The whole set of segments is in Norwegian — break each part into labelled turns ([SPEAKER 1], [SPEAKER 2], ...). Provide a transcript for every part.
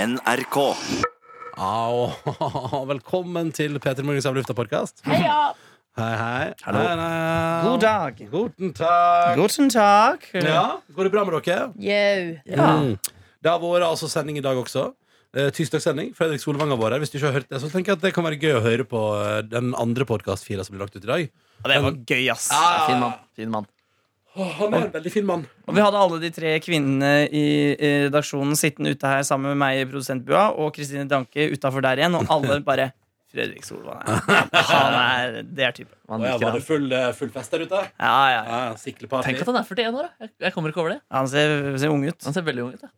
[SPEAKER 1] NRK.
[SPEAKER 2] Au. Velkommen til P3 Morgens av lufta-podkast. Hei,
[SPEAKER 3] Heia!
[SPEAKER 2] hei.
[SPEAKER 1] Hallo.
[SPEAKER 2] Hei, hei.
[SPEAKER 4] God dag.
[SPEAKER 2] Guten tag.
[SPEAKER 4] Guten tag.
[SPEAKER 2] Ja, går det bra med dere?
[SPEAKER 3] Yo.
[SPEAKER 2] Mm. Det har vært altså sending i dag også. Eh, Tirsdagssending. Fredrik Solvang har vært her. Hvis du ikke har hørt det, så tenker jeg at det kan være gøy å høre på eh, den andre podkastfila som blir lagt ut i dag.
[SPEAKER 4] Ja, det var gøy, ass.
[SPEAKER 2] Ja.
[SPEAKER 4] Fin mann. Fin mann.
[SPEAKER 2] Å, han er en veldig fin mann.
[SPEAKER 4] Og vi hadde alle de tre kvinnene i i redaksjonen sittende ute her sammen med meg i produsentbua og Kristine Danke utafor der igjen, og alle bare Fredrik Solvang er Han er det er typen.
[SPEAKER 5] Man
[SPEAKER 2] Og jeg
[SPEAKER 5] liker
[SPEAKER 2] var
[SPEAKER 5] han.
[SPEAKER 2] det full, eh, full fest der ute.
[SPEAKER 4] Ja, ja. ja.
[SPEAKER 2] Ja, Sikleparty.
[SPEAKER 5] Tenk at han er 41 år, da. Jeg, jeg kommer ikke over det.
[SPEAKER 4] Han ser, ser ung ut.
[SPEAKER 5] Han ser veldig ung ut. da.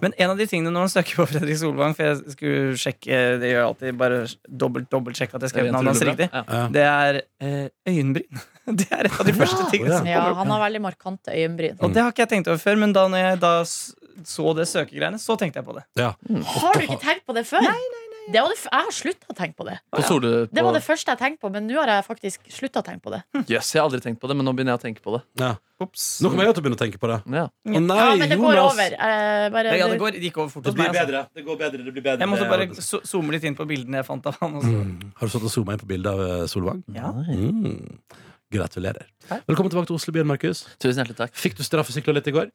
[SPEAKER 4] Men en av de tingene når man søker på Fredrik Solvang, for jeg skulle sjekke det gjør jeg alltid, bare dobbelt, dobbeltsjekke at jeg skrev
[SPEAKER 5] Jeg
[SPEAKER 4] navnet hans
[SPEAKER 5] tror det
[SPEAKER 4] riktig,
[SPEAKER 5] er bra. Ja.
[SPEAKER 2] Ja.
[SPEAKER 4] det er eh, øyenbryn. Det er et av de første tingene som
[SPEAKER 3] Ja, han har veldig markante øyenbryn.
[SPEAKER 4] Og det har ikke jeg tenkt over før, men da når jeg da s- så det søkegreiene, så tenkte jeg på det.
[SPEAKER 2] Ja.
[SPEAKER 3] Har du ikke tenkt på det før? Det var det, f- jeg har slutta å tenke på det.
[SPEAKER 5] På sole...
[SPEAKER 3] Det
[SPEAKER 5] på-
[SPEAKER 3] var det første jeg tenkte på, men nå har jeg faktisk slutta å tenke på det.
[SPEAKER 5] Jøss, jeg har aldri tenkt på det, men nå begynner jeg å tenke på det.
[SPEAKER 2] Ja.
[SPEAKER 4] Ops.
[SPEAKER 2] Nå kommer jeg til å begynne å tenke på det.
[SPEAKER 5] Ja.
[SPEAKER 2] Å nei,
[SPEAKER 3] Ja, men det går
[SPEAKER 2] Jonas.
[SPEAKER 3] over. Eh, bare,
[SPEAKER 4] Ja, det går, det gikk over fort
[SPEAKER 2] Det
[SPEAKER 4] hos
[SPEAKER 2] blir
[SPEAKER 4] meg. Altså.
[SPEAKER 2] bedre. Det går bedre. Det blir bedre.
[SPEAKER 4] Jeg måtte bare
[SPEAKER 2] Mm.
[SPEAKER 4] zo- zoome litt inn på bildene jeg fant av han. og så-
[SPEAKER 2] Har du satt og zooma inn på bildet av eh, Solvang?
[SPEAKER 4] Ja.
[SPEAKER 2] Mm. Gratulerer. Velkommen tilbake til Oslobyen, Markus.
[SPEAKER 5] Tusen hjertelig takk.
[SPEAKER 2] Fikk du straffesykla litt i går?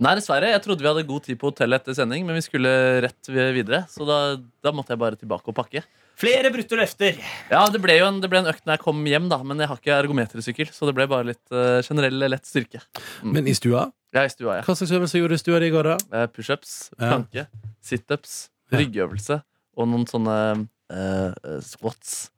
[SPEAKER 5] Nei, dessverre. Jeg trodde vi hadde god tid på hotellet etter sending, men vi skulle rett videre. Så da, da måtte jeg bare tilbake og pakke.
[SPEAKER 4] Flere brutte løfter!
[SPEAKER 5] Ja, det ble jo en, det ble en økt når jeg kom hjem, da, men jeg har ikke ergometersykkel, så det ble bare litt eh, generell lett styrke.
[SPEAKER 2] Men i stua?
[SPEAKER 5] Jeg er i stua, jeg.
[SPEAKER 2] Hva slags øvelse gjorde du i stua di i går, da?
[SPEAKER 5] Eh, Pushups,
[SPEAKER 2] Ja.
[SPEAKER 5] planke, situps,
[SPEAKER 2] Ja.
[SPEAKER 5] ryggøvelse og noen sånne eh, eh, squats.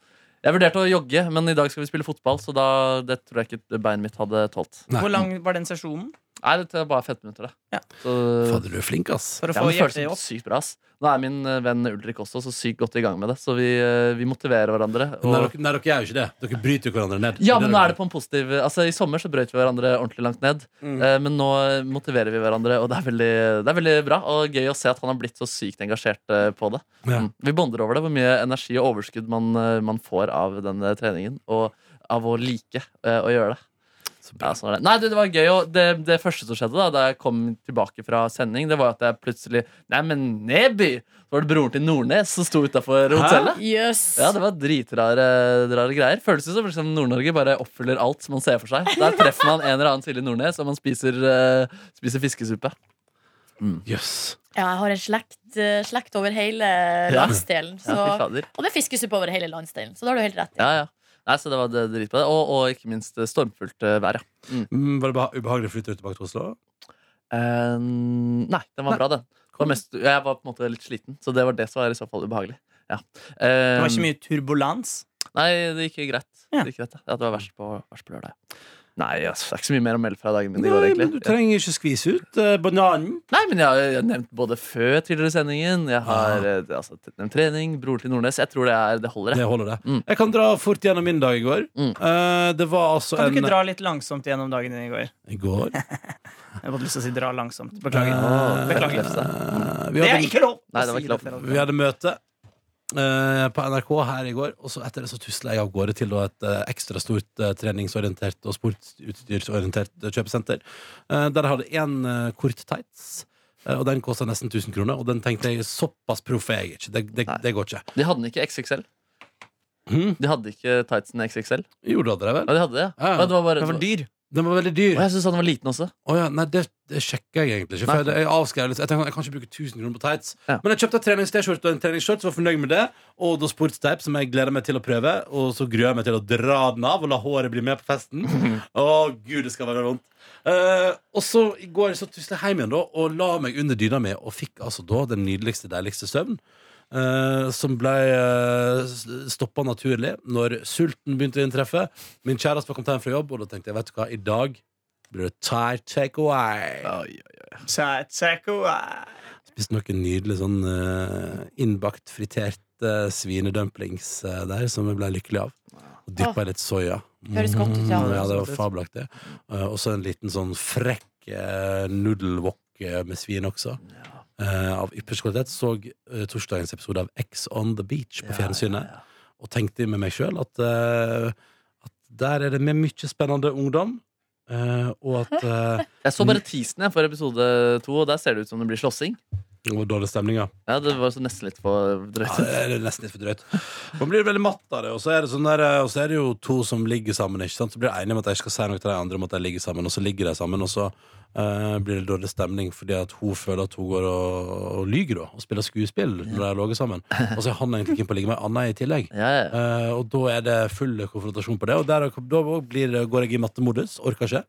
[SPEAKER 5] Jeg vurderte å jogge, men i dag skal vi spille fotball, så da, det tror jeg ikke beinet mitt hadde tålt.
[SPEAKER 2] Nei.
[SPEAKER 4] Hvor lang var den sesjonen?
[SPEAKER 5] Nei, det er bare 15 minutter, det.
[SPEAKER 4] Ja.
[SPEAKER 5] Så,
[SPEAKER 2] Fader, du er flink, ass.
[SPEAKER 4] For å
[SPEAKER 5] ja,
[SPEAKER 4] få
[SPEAKER 5] men det
[SPEAKER 4] hjertet
[SPEAKER 5] føles
[SPEAKER 4] opp?
[SPEAKER 5] sykt bra, ass. Nå er min eh, venn Ulrik også så sykt godt i gang med det, så vi, eh, vi motiverer hverandre.
[SPEAKER 2] Nei,
[SPEAKER 5] Og
[SPEAKER 2] dere, nei, dere er jo ikke det. Dere bryter jo hverandre ned.
[SPEAKER 5] ja, men nå er det på en positiv Altså, I sommer så brøt vi hverandre ordentlig langt ned.
[SPEAKER 4] Mm.
[SPEAKER 5] eh, Men nå motiverer vi hverandre, og det er, veldig, det er veldig bra. Og gøy å se at han har blitt så sykt engasjert eh, på det.
[SPEAKER 2] Ja.
[SPEAKER 5] Mm. Vi bonder over det, hvor mye energi og overskudd man, eh, man får av den eh, treningen. Og av å like eh, å gjøre det.
[SPEAKER 2] Så
[SPEAKER 5] Ja,
[SPEAKER 2] bra.
[SPEAKER 5] sånn er det. Nei, du, det var gøy. Og det, det første som skjedde da Da jeg kom tilbake fra sending, det var at jeg plutselig Nei, men Neby! Så var det broren til Nordnes som sto utafor hotellet.
[SPEAKER 3] Jøss.
[SPEAKER 5] Ja, det var dritrare rare greier. Føles det som liksom Nord-Norge bare oppfyller alt man ser for seg. Der treffer man en eller annen Silje Nordnes, og man spiser, eh, spiser fiskesuppe.
[SPEAKER 2] Jøss.
[SPEAKER 3] Ja, jeg har en slekt, eh, slekt over hele
[SPEAKER 5] Ja.
[SPEAKER 3] landsdelen.
[SPEAKER 5] Ja,
[SPEAKER 3] Så,
[SPEAKER 5] fy fader.
[SPEAKER 3] og det er fiskesuppe over hele landsdelen, så da har du helt rett.
[SPEAKER 5] Ja, ja. Nei, så det var det- drit på det. Og, og ikke minst eh, stormfullt eh, vær, ja.
[SPEAKER 2] Mm, Var det beha- ubehagelig å flytte tilbake til Oslo?
[SPEAKER 5] Eh, nei, den var bra, den. Det Var mest, jeg var på en måte litt sliten, så det var det som var i så fall ubehagelig. Ja. Eh,
[SPEAKER 4] Det var ikke mye turbulens.
[SPEAKER 5] Nei, det gikk greit.
[SPEAKER 4] Ja.
[SPEAKER 5] Det, gikk greit ja. Ja, det var verst på, verst på lørdag. Nei, altså, det er ikke så mye mer å melde fra dagen min. i går,
[SPEAKER 2] Nei,
[SPEAKER 5] egentlig.
[SPEAKER 2] men du trenger ikke skvise ut eh, bananen.
[SPEAKER 5] Nei, men jeg har, jeg har nevnt både før tidligere i sendingen. Jeg har eh, altså, t- nevnt trening, bror til Nordnes. Jeg tror det, er, det holder.
[SPEAKER 2] Det
[SPEAKER 5] Jeg.
[SPEAKER 2] holder, det.
[SPEAKER 5] Mm.
[SPEAKER 2] Jeg kan dra fort gjennom min dag i går.
[SPEAKER 5] Mm.
[SPEAKER 2] Eh, det var altså en
[SPEAKER 4] Kan du ikke dra litt langsomt gjennom dagen din i går?
[SPEAKER 2] I går
[SPEAKER 4] Jeg hadde lyst til å si dra langsomt. Beklager.
[SPEAKER 2] Eh, eh,
[SPEAKER 4] Beklager.
[SPEAKER 2] vi
[SPEAKER 4] Det er
[SPEAKER 2] hadde
[SPEAKER 4] ikke lov!
[SPEAKER 5] Nei,
[SPEAKER 4] å
[SPEAKER 5] det var
[SPEAKER 4] si
[SPEAKER 5] ikke
[SPEAKER 4] dette.
[SPEAKER 2] Vi hadde møte eh, på NRK her i går, og så etter det så tusla jeg av gårde til da, et eh, ekstra stort eh, treningsorientert og sportsutstyrsorientert eh, kjøpesenter. Eh, der hadde én eh, kort tights, eh, og den kosta nesten 1000 kroner. Og den tenkte jeg såpass proff er jeg ikke. Det, det,
[SPEAKER 5] Nei.
[SPEAKER 2] det går ikke.
[SPEAKER 5] De hadde den ikke XXL.
[SPEAKER 4] Hmm?
[SPEAKER 2] Hm?
[SPEAKER 5] De hadde ikke tightsen XXL.
[SPEAKER 2] Jo, du hadde det
[SPEAKER 5] Ja,
[SPEAKER 2] vel?
[SPEAKER 5] de hadde det.
[SPEAKER 2] Ja, ja.
[SPEAKER 5] Ja, det var bare,
[SPEAKER 4] Det Ah. var dyr.
[SPEAKER 2] Den var veldig
[SPEAKER 5] Å,
[SPEAKER 2] dyr.
[SPEAKER 5] jeg syns han var liten også.
[SPEAKER 2] Å ja, nei, det, det sjekker jeg egentlig ikke. For
[SPEAKER 5] Nei.
[SPEAKER 2] jeg, jeg, avskrev litt. jeg tenkte jeg kan ikke bruke 1000 kroner på tights.
[SPEAKER 5] Ja.
[SPEAKER 2] Men jeg kjøpte en treningst-skjorte og en treningsshorts, var fornøyd med det. Og da sportsteip, som jeg gleder meg til å prøve. Og så gruer jeg meg til å dra den av og la håret bli med på festen. Å gud, det skal være vondt. Eh, og så i går så tusla jeg hjem igjen da og la meg under dyna mi, og fikk altså da den nydeligste, deiligste søvn. eh, som ble uh, stoppa naturlig når sulten begynte å inntreffe. Min kjæreste var kommet hjem fra jobb, og da tenkte jeg vet du hva, i dag blir det Thai take away.
[SPEAKER 4] Tja, tjekk, wow.
[SPEAKER 2] Spiste noen nydelige sånn eh, innbakt, fritert eh, svinedumplings eh, der, som jeg ble lykkelig av. Og dyppa i litt soya.
[SPEAKER 3] Høres godt ut, ja.
[SPEAKER 2] Mm, ja, det var fabelaktig. Eh, og så en liten sånn frekk uh, nudelwok eh, med svin også. Eh, av ypperste kvalitet. Så eh, torsdagens episode av X on the Beach på fjernsynet. Og tenkte med meg sjøl at, eh, at der er det med mye spennende ungdom. eh, og at eh,
[SPEAKER 5] Jeg så bare teasen jeg, for episode to, og der ser det ut som det blir slåssing.
[SPEAKER 2] Det var dårlig stemning, ja.
[SPEAKER 5] Ja, det var så nesten litt for drøyt.
[SPEAKER 2] Ja, det er nesten litt for drøyt. Man blir veldig matt av det. Og så er det, sånn der, og så er det jo to som ligger sammen. Ikke sant? Så blir de enige om at de ikke skal si noe til de andre om at de ligger sammen, og så ligger de sammen, og så eh, blir det dårlig stemning fordi at hun føler at hun går og, og lyger da, og spiller skuespill når de har ligget sammen. Og så er han egentlig keen på å ligge med ei anna i tillegg.
[SPEAKER 5] Ja, ja.
[SPEAKER 2] Eh, og da er det full konfrontasjon på det, og der, da blir, det- går jeg i mattemodus. Orker ikke.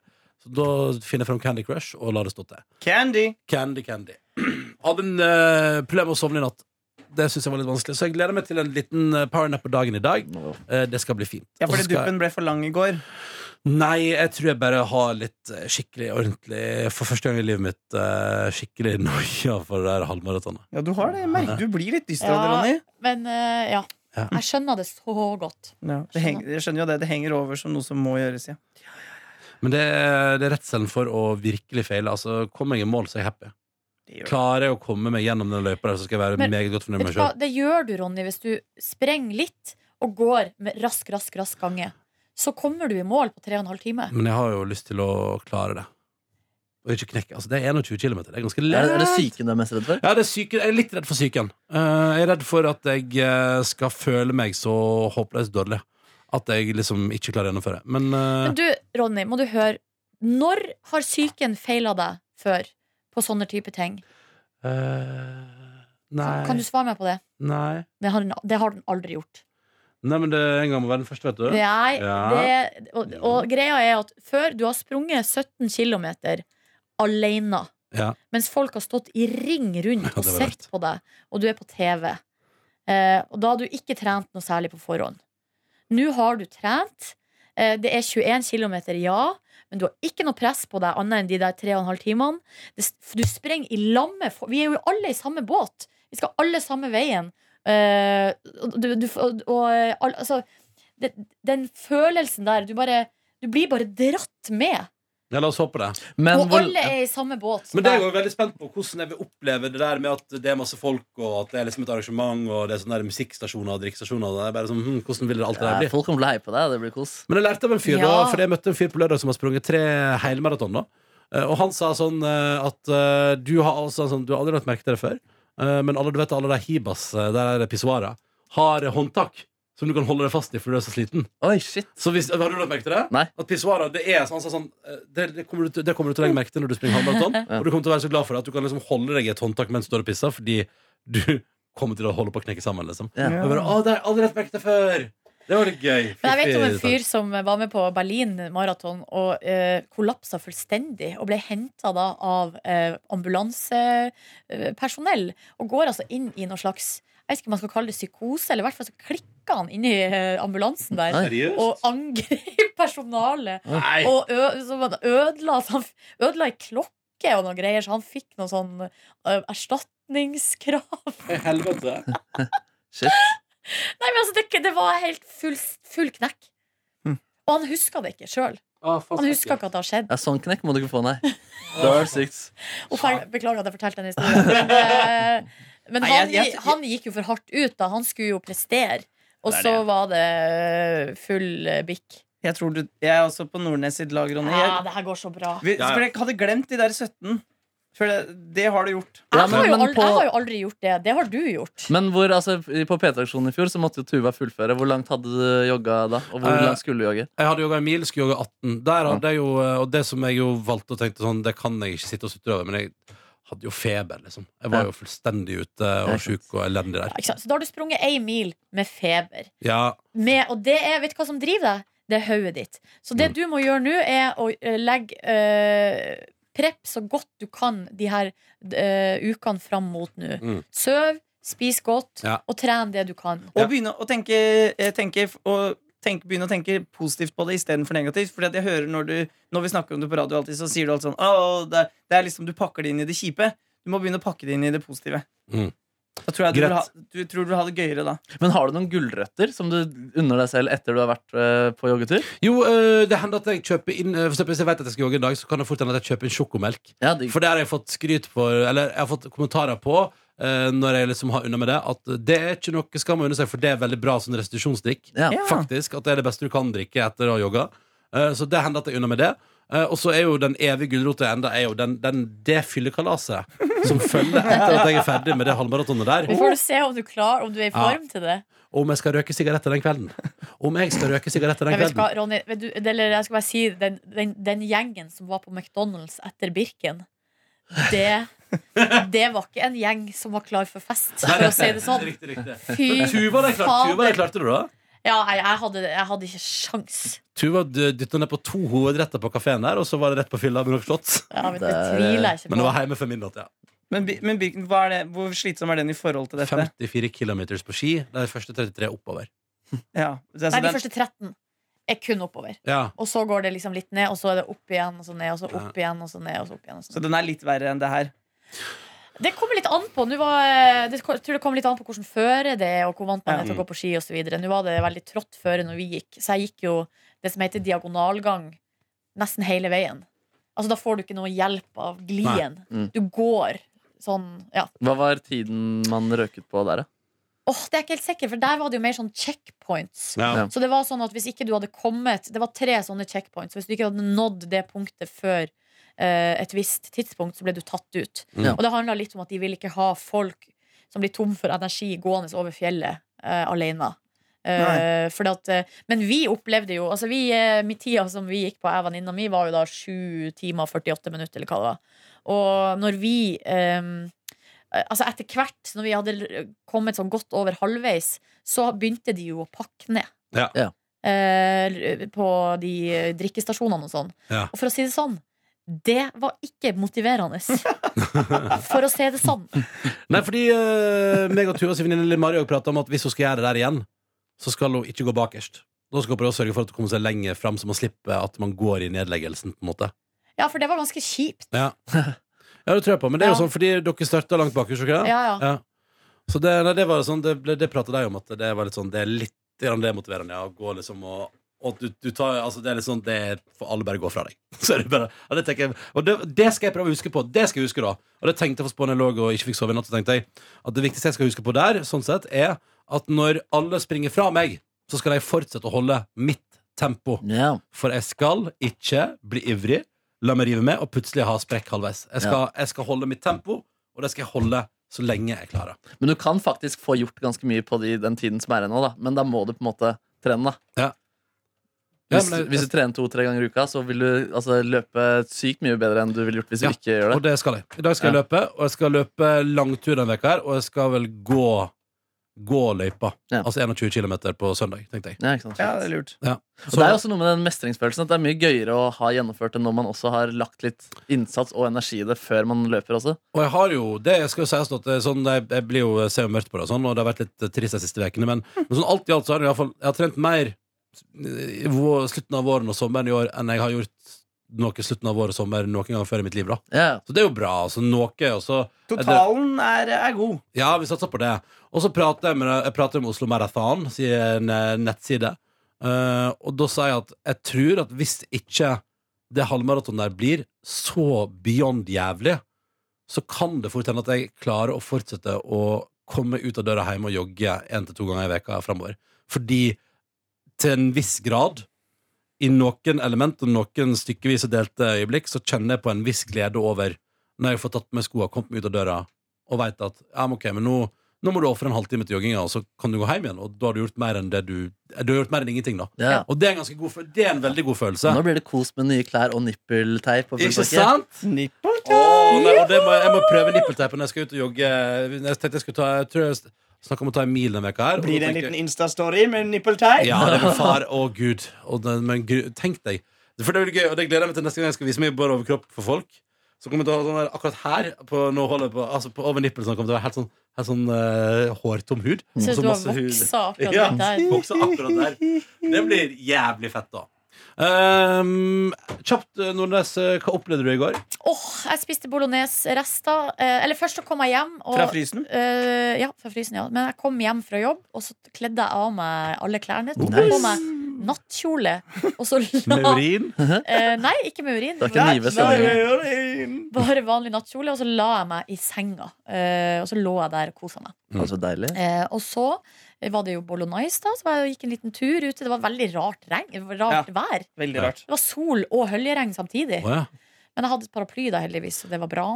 [SPEAKER 2] Så da finner jeg fram Candy Crush og lar det stå til.
[SPEAKER 4] Candy!
[SPEAKER 2] Candy Candy. Hadde en eh, problem med å sovne i natt. Det synes jeg var litt vanskelig. Så jeg gleder meg til en liten eh, powernap på dagen i dag. Eh, det skal bli fint. Og
[SPEAKER 4] Ja,
[SPEAKER 2] så
[SPEAKER 4] fordi
[SPEAKER 2] skal jeg-
[SPEAKER 4] duppen ble for lang i går.
[SPEAKER 2] Nei, jeg tror jeg bare har litt eh, skikkelig ordentlig For første gang i livet mitt eh, skikkelig noia for det der halvmaratonet.
[SPEAKER 4] Ja, du har det. Jeg merker du blir litt dyster av det,
[SPEAKER 3] Ja.
[SPEAKER 4] Ronny.
[SPEAKER 3] Men eh, ja.
[SPEAKER 2] Ja.
[SPEAKER 3] Jeg skjønner det så godt.
[SPEAKER 4] det heng, jeg skjønner jo det. Det henger over som noe som må gjøres. Ja.
[SPEAKER 2] Men det, er- det er redselen for å virkelig feile. Altså, Kommer jeg i mål, så er jeg happy.
[SPEAKER 4] Det gjør det.
[SPEAKER 2] Klarer jeg å komme meg gjennom den løypa, der, så skal jeg være
[SPEAKER 3] Men,
[SPEAKER 2] meget godt fornøyd med
[SPEAKER 3] Vet
[SPEAKER 2] meg
[SPEAKER 3] du hva?
[SPEAKER 2] sjøl.
[SPEAKER 3] Det gjør du, Ronny, hvis du sprenger litt og går med rask, rask, rask gange. Så kommer du i mål på 3 15 timer.
[SPEAKER 2] Men jeg har jo lyst til å klare det. Og ikke knekke. Altså, det er 21 km. Det er ganske
[SPEAKER 5] Er,
[SPEAKER 2] lett.
[SPEAKER 5] det- er det psyken du er mest redd for?
[SPEAKER 2] Ja, det er syke, jeg er litt redd for psyken. Eh, jeg er redd for at jeg eh, skal føle meg så håpløst dårlig at jeg liksom ikke klarer å gjennomføre. Men eh,
[SPEAKER 3] Men du, Ronny, må du høre. Når har psyken feila deg før på sånne type ting?
[SPEAKER 2] eh, Nei.
[SPEAKER 3] Kan du svare meg på det?
[SPEAKER 2] Nei.
[SPEAKER 3] Det har, den- det har den aldri gjort.
[SPEAKER 2] Nei, men det en gang må være den første, vet du.
[SPEAKER 3] Nei,
[SPEAKER 2] Ja.
[SPEAKER 3] det, og, og greia er at før du har sprunget 17 km alene,
[SPEAKER 2] Ja.
[SPEAKER 3] mens folk har stått i ring rundt
[SPEAKER 2] Ja,
[SPEAKER 3] og
[SPEAKER 2] det var
[SPEAKER 3] sett på deg, og du er på TV, eh, og da har du ikke trent noe særlig på forhånd. Nå har du trent. Eh, det er 21 km, ja. Men du har ikke noe press på deg annet enn de der tre og en halv timene. Det, du sprenger i lamme fo- Vi er jo alle i samme båt. Vi skal alle samme veien. Eh, og du, du, og, og, eh, al- altså, det, den følelsen der Du, bare, du blir bare dratt med.
[SPEAKER 2] Ja, la oss håpe det.
[SPEAKER 5] Men
[SPEAKER 3] Og
[SPEAKER 5] hvor-
[SPEAKER 3] alle er i samme båt. som
[SPEAKER 2] Men det er
[SPEAKER 3] deg.
[SPEAKER 2] jeg også veldig spent på hvordan jeg vil oppleve det der med at det er masse folk, og at det er liksom et arrangement, og det er sånne der musikkstasjoner og drikkestasjoner. og Det er bare sånn, hm, hvordan vil det alt det der
[SPEAKER 5] ja,
[SPEAKER 2] bli?
[SPEAKER 5] folk kommer til å heie på deg. Det blir kos.
[SPEAKER 2] Men jeg lærte av en fyr
[SPEAKER 3] Ja.
[SPEAKER 2] da, for jeg møtte en fyr på lørdag som har sprunget tre helmaraton da. Eh, Og han sa sånn eh, at eh, du har, altså, sånn, du har aldri lagt merke til det før, eh, men alle, du vet alle de hibas, eh, der er det pissoarer, har håndtak som du kan holde deg fast i fordi du er så sliten.
[SPEAKER 5] Oi, shit
[SPEAKER 2] Så hvis, har du lagt merke til det?
[SPEAKER 5] Nei.
[SPEAKER 2] At pissoarer, det er sånn, sånn, sånn eh, det, det, kommer du, til- det kommer du til å legge merke til når du springer halvmaraton,
[SPEAKER 5] Ja.
[SPEAKER 2] og du kommer til å være så glad for det at du kan liksom holde deg i et håndtak mens du står og pisser, fordi du kommer til å holde på å knekke sammen, liksom.
[SPEAKER 5] Ja.
[SPEAKER 2] Og jeg bare, å, det har jeg aldri lagt merke til før! Det var litt gøy.
[SPEAKER 3] Men jeg vet om en
[SPEAKER 2] Fiffig, sånn.
[SPEAKER 3] fyr som var med på Berlin maraton og eh, kollapsa fullstendig. Og ble henta da av eh, ambulansepersonell. Og går altså inn i noe slags Jeg vet ikke om man skal kalle det psykose, eller i hvert fall så klikka han inn i eh, ambulansen der.
[SPEAKER 5] Nei.
[SPEAKER 2] Seriøst?
[SPEAKER 3] Og angrep personalet.
[SPEAKER 2] Nei.
[SPEAKER 3] Og ø, så han ødela, så han f- ødela ei klokke og noen greier, så han fikk noe sånn eh, erstatningskrav.
[SPEAKER 2] Helvete.
[SPEAKER 5] Shit.
[SPEAKER 3] Nei, men altså, det, det var helt full, full knekk.
[SPEAKER 4] Mm.
[SPEAKER 3] Og han huska det ikke sjøl. Han huska ikke at det har skjedd.
[SPEAKER 5] Ja, sånn knekk må du ikke få, nei. Det var sykt.
[SPEAKER 3] Uff, jeg beklager at jeg fortalte den historien. Men, eh, men
[SPEAKER 4] Nei,
[SPEAKER 3] han,
[SPEAKER 4] jeg- jeg-
[SPEAKER 3] gi- han gikk jo for hardt ut, da. Han skulle jo prestere. Og
[SPEAKER 4] Det er
[SPEAKER 3] så
[SPEAKER 4] det.
[SPEAKER 3] var det eh, full eh, bikk.
[SPEAKER 4] Jeg, tror du, jeg er også på Nordnes sitt lag, Ronny.
[SPEAKER 3] Ja,
[SPEAKER 4] Jeg,
[SPEAKER 3] det her går så bra.
[SPEAKER 4] vi,
[SPEAKER 2] Ja, ja.
[SPEAKER 4] for jeg hadde glemt de der 17. For det, det har du gjort.
[SPEAKER 5] Ja,
[SPEAKER 3] Jeg har, jo
[SPEAKER 5] men- men
[SPEAKER 3] aldri,
[SPEAKER 5] på-
[SPEAKER 3] jeg har jo aldri gjort det. Det har du gjort.
[SPEAKER 5] Men hvor, altså, i- på P3-aksjonen i fjor så måtte jo Tuva fullføre. Hvor langt hadde du jogga da? Og hvor
[SPEAKER 2] Eh,
[SPEAKER 5] langt skulle du jogge?
[SPEAKER 2] Jeg hadde jogga en mil, skulle jogge 18. Der hadde jeg jo, eh, og det som jeg jo valgte og tenkte sånn, det kan jeg ikke sitte og sutre over, men jeg hadde jo feber, liksom. Jeg var
[SPEAKER 5] Ja.
[SPEAKER 2] jo fullstendig ute og sjuk og elendig der.
[SPEAKER 3] Ja, ikke sant? Så da har du sprunget ei mil med feber.
[SPEAKER 2] Ja,
[SPEAKER 3] med, og det er, vet du hva som driver deg? Det er hodet ditt. Så
[SPEAKER 2] Mm.
[SPEAKER 3] det du må gjøre nå, er å eh, legge eh, Prepp så godt du kan de her eh, ukene fram mot nå.
[SPEAKER 2] Mm.
[SPEAKER 3] Søv, spis godt,
[SPEAKER 2] Ja.
[SPEAKER 3] og tren det du kan.
[SPEAKER 4] Og begynne å tenke, eh, tenke og tenke, begynne å tenke positivt på det istedenfor negativt. Fordi at jeg hører når, du, når vi snakker om det på radio, alltid, så sier du alltid sånn «Åh, det, er- det er liksom Du pakker det inn i det kjipe. Du må begynne å pakke det inn i det positive.
[SPEAKER 2] Mm.
[SPEAKER 4] Da tror jeg du,
[SPEAKER 2] Greit.
[SPEAKER 4] vil ha, du tror du vil ha det gøyere da.
[SPEAKER 5] Men har du noen gulrøtter som du unner deg selv etter du har vært eh, på joggetur?
[SPEAKER 2] Jo, øh, det hender at jeg kjøper inn øh, For eksempel hvis jeg vet at jeg skal jogge en dag, så kan det fort hende at jeg kjøper inn sjokomelk.
[SPEAKER 5] Ja, digg.
[SPEAKER 2] For det har jeg fått skryt på Eller jeg har fått kommentarer på eh, når jeg liksom har unna med det, at det er ikke noe skam å unne seg, for det er veldig bra sånn restitusjonsdrikk.
[SPEAKER 5] Ja.
[SPEAKER 4] Ja.
[SPEAKER 2] Faktisk, At det er det beste du kan drikke etter å ha jogga. Eh, så det hender at jeg er unna med det. Eh, og så er jo den evige gulrota enda er jo den, den, det fyllekalaset. som følger etter at jeg er ferdig med det halvmaratonet der.
[SPEAKER 3] Vi får du se om du, klar, om du er i form til det.
[SPEAKER 2] Om jeg skal røyke sigaretter den kvelden. Om jeg skal røyke sigaretter den
[SPEAKER 3] Jeg vet
[SPEAKER 2] kvelden.
[SPEAKER 3] hva, Ronny, vet du, eller jeg skal bare si den, den, den gjengen som var på McDonald's etter Birken, det, det var ikke en gjeng som var klar for fest, for å si det sånn.
[SPEAKER 2] Riktig, riktig.
[SPEAKER 3] Fy
[SPEAKER 2] Tuva, det klarte, Tuva, det
[SPEAKER 3] fader.
[SPEAKER 2] klarte du, da?
[SPEAKER 3] Ja, jeg, jeg, hadde, jeg hadde ikke sjans.
[SPEAKER 2] Tuva dytta ned på to hovedretter på kafeen der, og så var det rett på fylla med noe slott.
[SPEAKER 3] Ja, men det
[SPEAKER 5] Det er-
[SPEAKER 3] tviler jeg ikke
[SPEAKER 2] Men det var
[SPEAKER 3] på.
[SPEAKER 2] hjemme for min natt, ja.
[SPEAKER 4] Men, Bi- men Birken, hva er det, hvor slitsom er den i forhold til dette?
[SPEAKER 2] 54 km på ski. De første 33 oppover.
[SPEAKER 4] Ja, så altså
[SPEAKER 3] Nei, de
[SPEAKER 4] den,
[SPEAKER 3] første 13 er kun oppover.
[SPEAKER 2] Ja.
[SPEAKER 3] Og så går det liksom litt ned, og så er det opp igjen, og så ned, og så opp igjen, og så ned. og så opp igjen. Og så
[SPEAKER 4] så den er litt verre enn det her.
[SPEAKER 3] Det kommer litt an på. Nå var, det, jeg tror det kommer litt an på hvordan føre det er, og hvor vant man er til å gå på ski osv. Nå var det veldig trått føre når vi gikk, så jeg gikk jo det som heter diagonalgang nesten hele veien. Altså Da får du ikke noe hjelp av glien.
[SPEAKER 5] Nei. Mm.
[SPEAKER 3] Du går sånn Ja.
[SPEAKER 5] Hva var tiden man røket på der, da?
[SPEAKER 3] Åh, det er jeg ikke helt sikker, for der var det jo mer sånn checkpoints.
[SPEAKER 2] Ja.
[SPEAKER 5] Ja.
[SPEAKER 3] Så det var sånn at hvis ikke du hadde kommet Det var tre sånne checkpoints. Hvis du ikke hadde nådd det punktet før eh, et visst tidspunkt, så ble du tatt ut.
[SPEAKER 2] Ja.
[SPEAKER 3] Og det handla litt om at de vil ikke ha folk som blir tom for energi gående over fjellet eh, alene. Eh, fordi at, eh, men vi opplevde jo altså vi, eh, Min tida som vi gikk på, jeg og venninna mi, var jo da 7 timer og 48 minutter, eller hva det var. Og når vi eh, Altså etter hvert, når vi hadde kommet sånn godt over halvveis, så begynte de jo å pakke ned eh, på de eh, drikkestasjonene og sånn.
[SPEAKER 2] Ja.
[SPEAKER 3] Og for å si det sånn, det var ikke motiverende. for å si det sånn.
[SPEAKER 2] Nei, fordi uh, meg og Tuva sin venninne Lille Mari prata om at hvis hun skal gjøre det der igjen, så skal hun ikke gå bakerst. Da skal hun prøve å sørge for at hun kommer seg lenger fram, så man slipper at man går i nedleggelsen. på en måte
[SPEAKER 3] Ja, for det var ganske kjipt.
[SPEAKER 2] Ja, ja det tror jeg på. Men det er jo
[SPEAKER 3] Ja.
[SPEAKER 2] sånn fordi dere starta langt bakerst. ikke det?
[SPEAKER 3] Ja, ja.
[SPEAKER 2] Så det, nei, det var sånn, det, ble- det prata de om, at det var litt sånn Det er litt grann demotiverende ja, å gå liksom og og du, du tar, altså det er litt sånn Det får alle bare gå fra deg. Så er det bare, og det, tenker jeg, og det, det skal jeg prøve å huske på. Det skal jeg huske da Og det tenkte jeg faktisk på når jeg lå og ikke fikk sove i natt. Så tenkte jeg At det viktigste jeg skal huske på der, sånn sett er at når alle springer fra meg, så skal jeg fortsette å holde mitt tempo.
[SPEAKER 5] Ja.
[SPEAKER 2] For jeg skal ikke bli ivrig, la meg rive med, og plutselig ha sprekk halvveis. Jeg skal, jeg skal holde mitt tempo, og det skal jeg holde så lenge jeg klarer.
[SPEAKER 5] Men du kan faktisk få gjort ganske mye på de, den tiden som er ennå, da. Men da må du på en måte trene, da.
[SPEAKER 2] Ja,
[SPEAKER 5] Hvis,
[SPEAKER 2] men jeg-
[SPEAKER 5] hvis du trener to-tre ganger i uka, så vil du altså, løpe sykt mye bedre enn du ville gjort hvis du
[SPEAKER 2] Ja,
[SPEAKER 5] ikke gjør det.
[SPEAKER 2] Og det skal jeg. I dag skal jeg løpe, og jeg skal løpe langtur denne veka her, og jeg skal vel gå Gå løypa.
[SPEAKER 5] Ja.
[SPEAKER 2] Altså 21 km på søndag, tenkte jeg.
[SPEAKER 5] Ja, ikke sant?
[SPEAKER 4] Ja, det er lurt.
[SPEAKER 2] Ja.
[SPEAKER 5] Og det er jo også noe med den mestringsfølelsen at det er mye gøyere å ha gjennomført det når man også har lagt litt innsats og energi i det før man løper også.
[SPEAKER 2] Og jeg har jo, det skal jo sies at det er sånn, jeg, jeg blir jo, jeg ser jo mørkt på det og sånn, og det har vært litt eh, trist de siste vekene, men, men sånn alt i alt så har jeg i hvert fall, jeg har trent mer eh, i vå- slutten av våren og sommeren i år enn jeg har gjort noe slutten av vår og sommer noen gang før i mitt liv da.
[SPEAKER 5] Ja,
[SPEAKER 2] Så det er jo bra, altså noe, og så...
[SPEAKER 4] Totalen er, er god.
[SPEAKER 2] Ja, vi satser på det. Og så prater jeg, med, jeg prater om Oslo Marathon, sier en eh, nettside. Eh, og da sa jeg at jeg tror at hvis ikke det halvmaratonet der blir så beyond jævlig, så kan det fort hende at jeg klarer å fortsette å komme ut av døra hjemme og jogge én til to ganger i veka framover. Fordi til en viss grad, i noen element og noen stykkevis og delte øyeblikk, så kjenner jeg på en viss glede over når jeg får tatt på meg skoene, kommet meg ut av døra og veit at ja, men ok, men nå, nå må du ofre en halvtime til jogginga, og så kan du gå hjem igjen. Og da har du gjort mer enn det du Du har gjort mer enn ingenting, da.
[SPEAKER 5] ja.
[SPEAKER 2] Og det er en, ganske god, fø- det er en veldig god følelse.
[SPEAKER 5] Nå blir det kos med nye klær og nippelteip. og
[SPEAKER 2] Ikke
[SPEAKER 5] fullpakke.
[SPEAKER 2] sant?
[SPEAKER 4] Nippeltøy!
[SPEAKER 2] Åh, nei, og det må, jeg må prøve nippelteipen når jeg skal ut og jogge. Jeg tenkte jeg skulle ta Jeg tror jeg s- snakket om å ta en mil denne veka her. og
[SPEAKER 4] Blir
[SPEAKER 2] da
[SPEAKER 4] det en
[SPEAKER 2] tenker
[SPEAKER 4] liten
[SPEAKER 2] jeg-
[SPEAKER 4] Insta-story med nippelteip?
[SPEAKER 2] Ja, det var far og Gud. Og den, men gru- tenk deg. For det blir gøy, og det gleder jeg meg til neste gang jeg skal vise meg bare overkropp for folk. Så kommer jeg til å ha sånn der, akkurat her, på, nå holder jeg på, altså på over nippelen, sånn, kommer det til å være helt sånn, helt sånn eh, hårtom hud.
[SPEAKER 3] Jeg
[SPEAKER 2] Og så
[SPEAKER 3] synes du har
[SPEAKER 2] masse hud.
[SPEAKER 3] voksa akkurat
[SPEAKER 2] Ja.
[SPEAKER 3] der.
[SPEAKER 2] Vokse akkurat der. Det blir jævlig fett, da. Ehm, kjapt, eh, Nordnes, eh, hva opplevde du i går?
[SPEAKER 3] Åh, jeg spiste bolognese-rester. Eh, eller først så kom jeg hjem. Og,
[SPEAKER 4] Fra frysen?
[SPEAKER 3] Eh, ja, fra frysen, ja. Men jeg kom hjem fra jobb, og så kledde jeg av meg alle klærne. Tok
[SPEAKER 5] Nice.
[SPEAKER 3] på meg nattkjole, og så
[SPEAKER 2] Med
[SPEAKER 3] la
[SPEAKER 2] urin?
[SPEAKER 3] Eh, Nei, ikke med urin.
[SPEAKER 5] Det er ikke en
[SPEAKER 4] Nei,
[SPEAKER 5] nive
[SPEAKER 4] da
[SPEAKER 5] stemning.
[SPEAKER 4] er det urin.
[SPEAKER 3] Bare vanlig nattkjole, og så la jeg meg i senga. Eh, og så lå jeg der og kosa meg.
[SPEAKER 5] Det er så deilig.
[SPEAKER 3] Eh, og så var det jo Bolognese, da, så jeg gikk en liten tur ute. Det var veldig rart, regn, rart vær.
[SPEAKER 4] Veldig rart.
[SPEAKER 3] Det var sol og høljeregn samtidig.
[SPEAKER 2] Å ja.
[SPEAKER 3] Men jeg hadde et paraply da, heldigvis, så det var bra.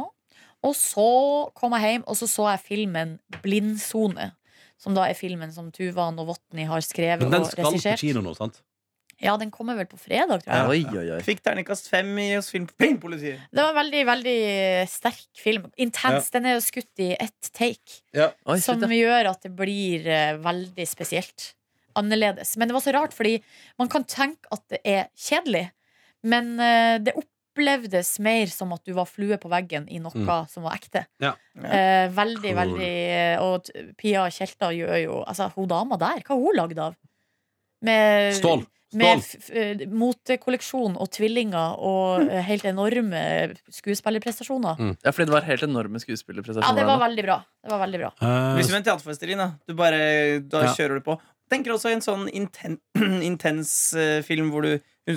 [SPEAKER 3] Og så kom jeg hjem, og så så jeg filmen Blindsone. Som da er filmen som Tuvan og Votni har skrevet
[SPEAKER 2] Men den
[SPEAKER 3] og
[SPEAKER 2] skal på
[SPEAKER 3] regissert.
[SPEAKER 2] kino nå, sant?
[SPEAKER 3] Ja, den kommer vel på fredag, tror jeg.
[SPEAKER 5] Oi, oi, oi.
[SPEAKER 4] Fikk terningkast fem i hos Filmpolitiet.
[SPEAKER 3] Det var en veldig, veldig sterk film. Intens. Den er jo skutt i ett take.
[SPEAKER 5] oi
[SPEAKER 3] som
[SPEAKER 5] shit, ja.
[SPEAKER 3] gjør at det blir eh, veldig spesielt. Annerledes. Men det var så rart, fordi man kan tenke at det er kjedelig, men eh, det opplevdes mer som at du var flue på veggen i noe som var ekte.
[SPEAKER 2] Mm. Ja.
[SPEAKER 4] Ja.
[SPEAKER 3] Eh, veldig,
[SPEAKER 2] Cool.
[SPEAKER 3] veldig eh, Og t- Pia Tjelta gjør jo Altså, hun dama der, hva har hun lagd av? Med,
[SPEAKER 2] Stål.
[SPEAKER 3] Eh, med
[SPEAKER 2] Stål.
[SPEAKER 3] f- f- eh, motekolleksjon og tvillinger og eh, helt enorme
[SPEAKER 2] Mm.
[SPEAKER 3] skuespillerprestasjoner.
[SPEAKER 5] ja, fordi det var helt enorme
[SPEAKER 3] Ja,
[SPEAKER 5] skuespillerprestasjoner.
[SPEAKER 3] det var
[SPEAKER 5] der nå.
[SPEAKER 3] veldig bra. Det var veldig bra.
[SPEAKER 2] Eh,
[SPEAKER 4] Hvis du er en teaterforestilling, da. Du bare, da
[SPEAKER 2] Ja.
[SPEAKER 4] kjører du på. Tenker også en sånn inten, intens eh, film hvor du I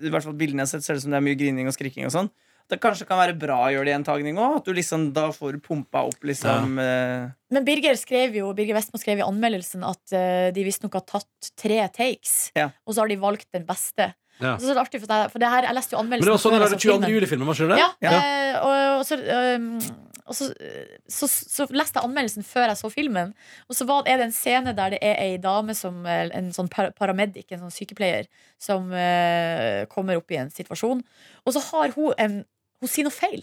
[SPEAKER 4] hvert fall bildene jeg har sett, ser det ut som det er mye grining og skriking og sånn. Det kanskje kan være bra å gjøre det i en tagning òg. Liksom, da får du pumpa opp, liksom. eh,
[SPEAKER 3] Men Birger skrev jo, Birger Westmo skrev i anmeldelsen at eh, de visstnok har tatt tre takes,
[SPEAKER 4] Ja.
[SPEAKER 3] og så har de valgt den beste.
[SPEAKER 2] Ja.
[SPEAKER 3] Så det er artig, for, jeg, for det her, jeg leste jo
[SPEAKER 2] Men
[SPEAKER 3] anmeldelsen
[SPEAKER 2] det var sånn de
[SPEAKER 3] før jeg
[SPEAKER 2] lagde
[SPEAKER 3] så filmen.
[SPEAKER 2] 22. juli-filmen, var ikke det?
[SPEAKER 3] Ja,
[SPEAKER 4] Ja.
[SPEAKER 3] eh, og, og, så, eh, og så, så, så leste jeg anmeldelsen før jeg så filmen. Og så var, er det en scene der det er ei dame, som, eh, en sånn par paramedic, en sånn sykepleier, som eh, kommer opp i en situasjon. Og så har hun en Hun sier noe feil.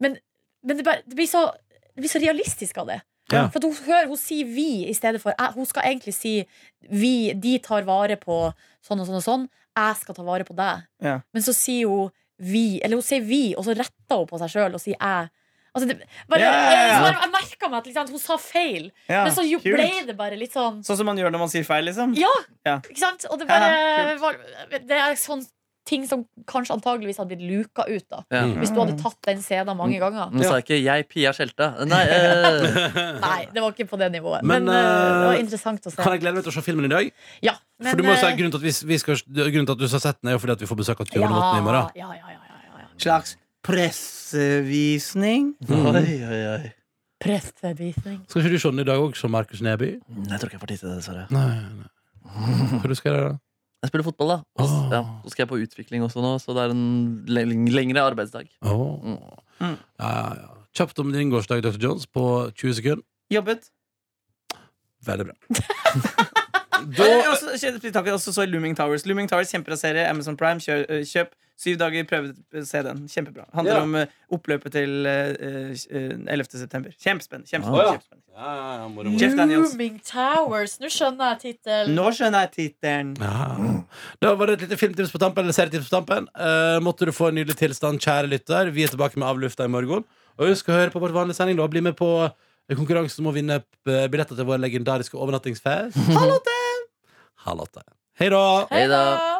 [SPEAKER 3] Men, men det, bare, det, blir så, det blir så realistisk av det.
[SPEAKER 2] Ja.
[SPEAKER 3] For at hun, hører, hun sier 'vi' i stedet for jeg. Hun skal egentlig si 'vi', 'de tar vare på sånn og sånn og sånn', 'jeg skal ta vare på deg'.
[SPEAKER 4] Ja.
[SPEAKER 3] Men så sier hun vi, eller hun sier vi, og så retter hun på seg sjøl og sier jeg. Altså, det, bare,
[SPEAKER 4] Ja, ja, ja.
[SPEAKER 3] Jeg, jeg merka meg at liksom, at hun sa feil,
[SPEAKER 4] ja.
[SPEAKER 3] men så jo,
[SPEAKER 4] kult.
[SPEAKER 3] ble det bare litt sånn
[SPEAKER 4] Sånn som man gjør når man sier feil, liksom.
[SPEAKER 3] Ja!
[SPEAKER 4] Ja.
[SPEAKER 3] Ikke sant? Og det
[SPEAKER 4] Ja,
[SPEAKER 3] bare
[SPEAKER 4] ja,
[SPEAKER 3] var, Det er sånn ting som kanskje antageligvis hadde blitt luka ut, da.
[SPEAKER 5] Ja.
[SPEAKER 2] Mm.
[SPEAKER 3] Hvis du hadde tatt den scenen
[SPEAKER 4] Mm.
[SPEAKER 3] mange ganger.
[SPEAKER 5] Nå sa jeg ikke 'jeg, Pia Skjelte'. Nei, eh,
[SPEAKER 4] Mm.
[SPEAKER 3] Nei, det var ikke på det nivået.
[SPEAKER 2] Men,
[SPEAKER 3] Men, eh, det
[SPEAKER 2] eh,
[SPEAKER 3] var interessant å se.
[SPEAKER 2] Kan jeg glede meg til å se filmen i dag?
[SPEAKER 3] Ja, men,
[SPEAKER 2] for du må jo si
[SPEAKER 3] eh,
[SPEAKER 2] Grunnen til at, vi, vi skal, grunnen til at du har sett den, er jo fordi at vi får besøk av Tuva Novotny i
[SPEAKER 3] ja,
[SPEAKER 2] morgen.
[SPEAKER 3] ja, ja, ja, ja, ja.
[SPEAKER 4] Slags pressevisning.
[SPEAKER 5] oi, oi, oi.
[SPEAKER 3] Prestevisning.
[SPEAKER 2] Skal ikke du se den i dag også, som Markus Neby?
[SPEAKER 5] Jeg tror ikke jeg får tid til det, dessverre.
[SPEAKER 2] Nei, nei. Hva du skal gjøre da?
[SPEAKER 5] Jeg spiller fotball, da. Og s- ja, så skal jeg på utvikling også nå, så det er en leng- lengre arbeidsdag.
[SPEAKER 2] Åh.
[SPEAKER 4] Mm.
[SPEAKER 2] Ja, ja. Kjapt om din gårsdag, Dr. Jones, på 20 sekunder.
[SPEAKER 4] Jobbet.
[SPEAKER 2] Veldig bra.
[SPEAKER 4] Da... Også, takk, også altså, så Looming Towers. Looming Towers, Kjempebra serie. Amazon Prime, kjø, eh, kjøp. Syv dager, prøve å se den. Kjempebra. Handler
[SPEAKER 2] Ja.
[SPEAKER 4] om eh, oppløpet til eh, eh, 11. september. Kjempespennende.
[SPEAKER 2] Ah,
[SPEAKER 4] kjempespennende,
[SPEAKER 2] ja.
[SPEAKER 4] kjempespennende. Jeff Daniels.
[SPEAKER 3] Looming Towers. Nå skjønner jeg tittelen.
[SPEAKER 4] Nå skjønner jeg tittelen.
[SPEAKER 2] Ja. Da var det et lite filmtips på tampen. Eller serietips på tampen Eh, Måtte du få en nydelig tilstand, kjære lytter. Vi er tilbake med Avlufta i morgen. Og husk å høre på vår vanlige sending. da Bli med på konkurransen om å vinne eh, billetter til vår legendariske overnattingsfest. Halv åtte! Hei da!
[SPEAKER 5] Hei da.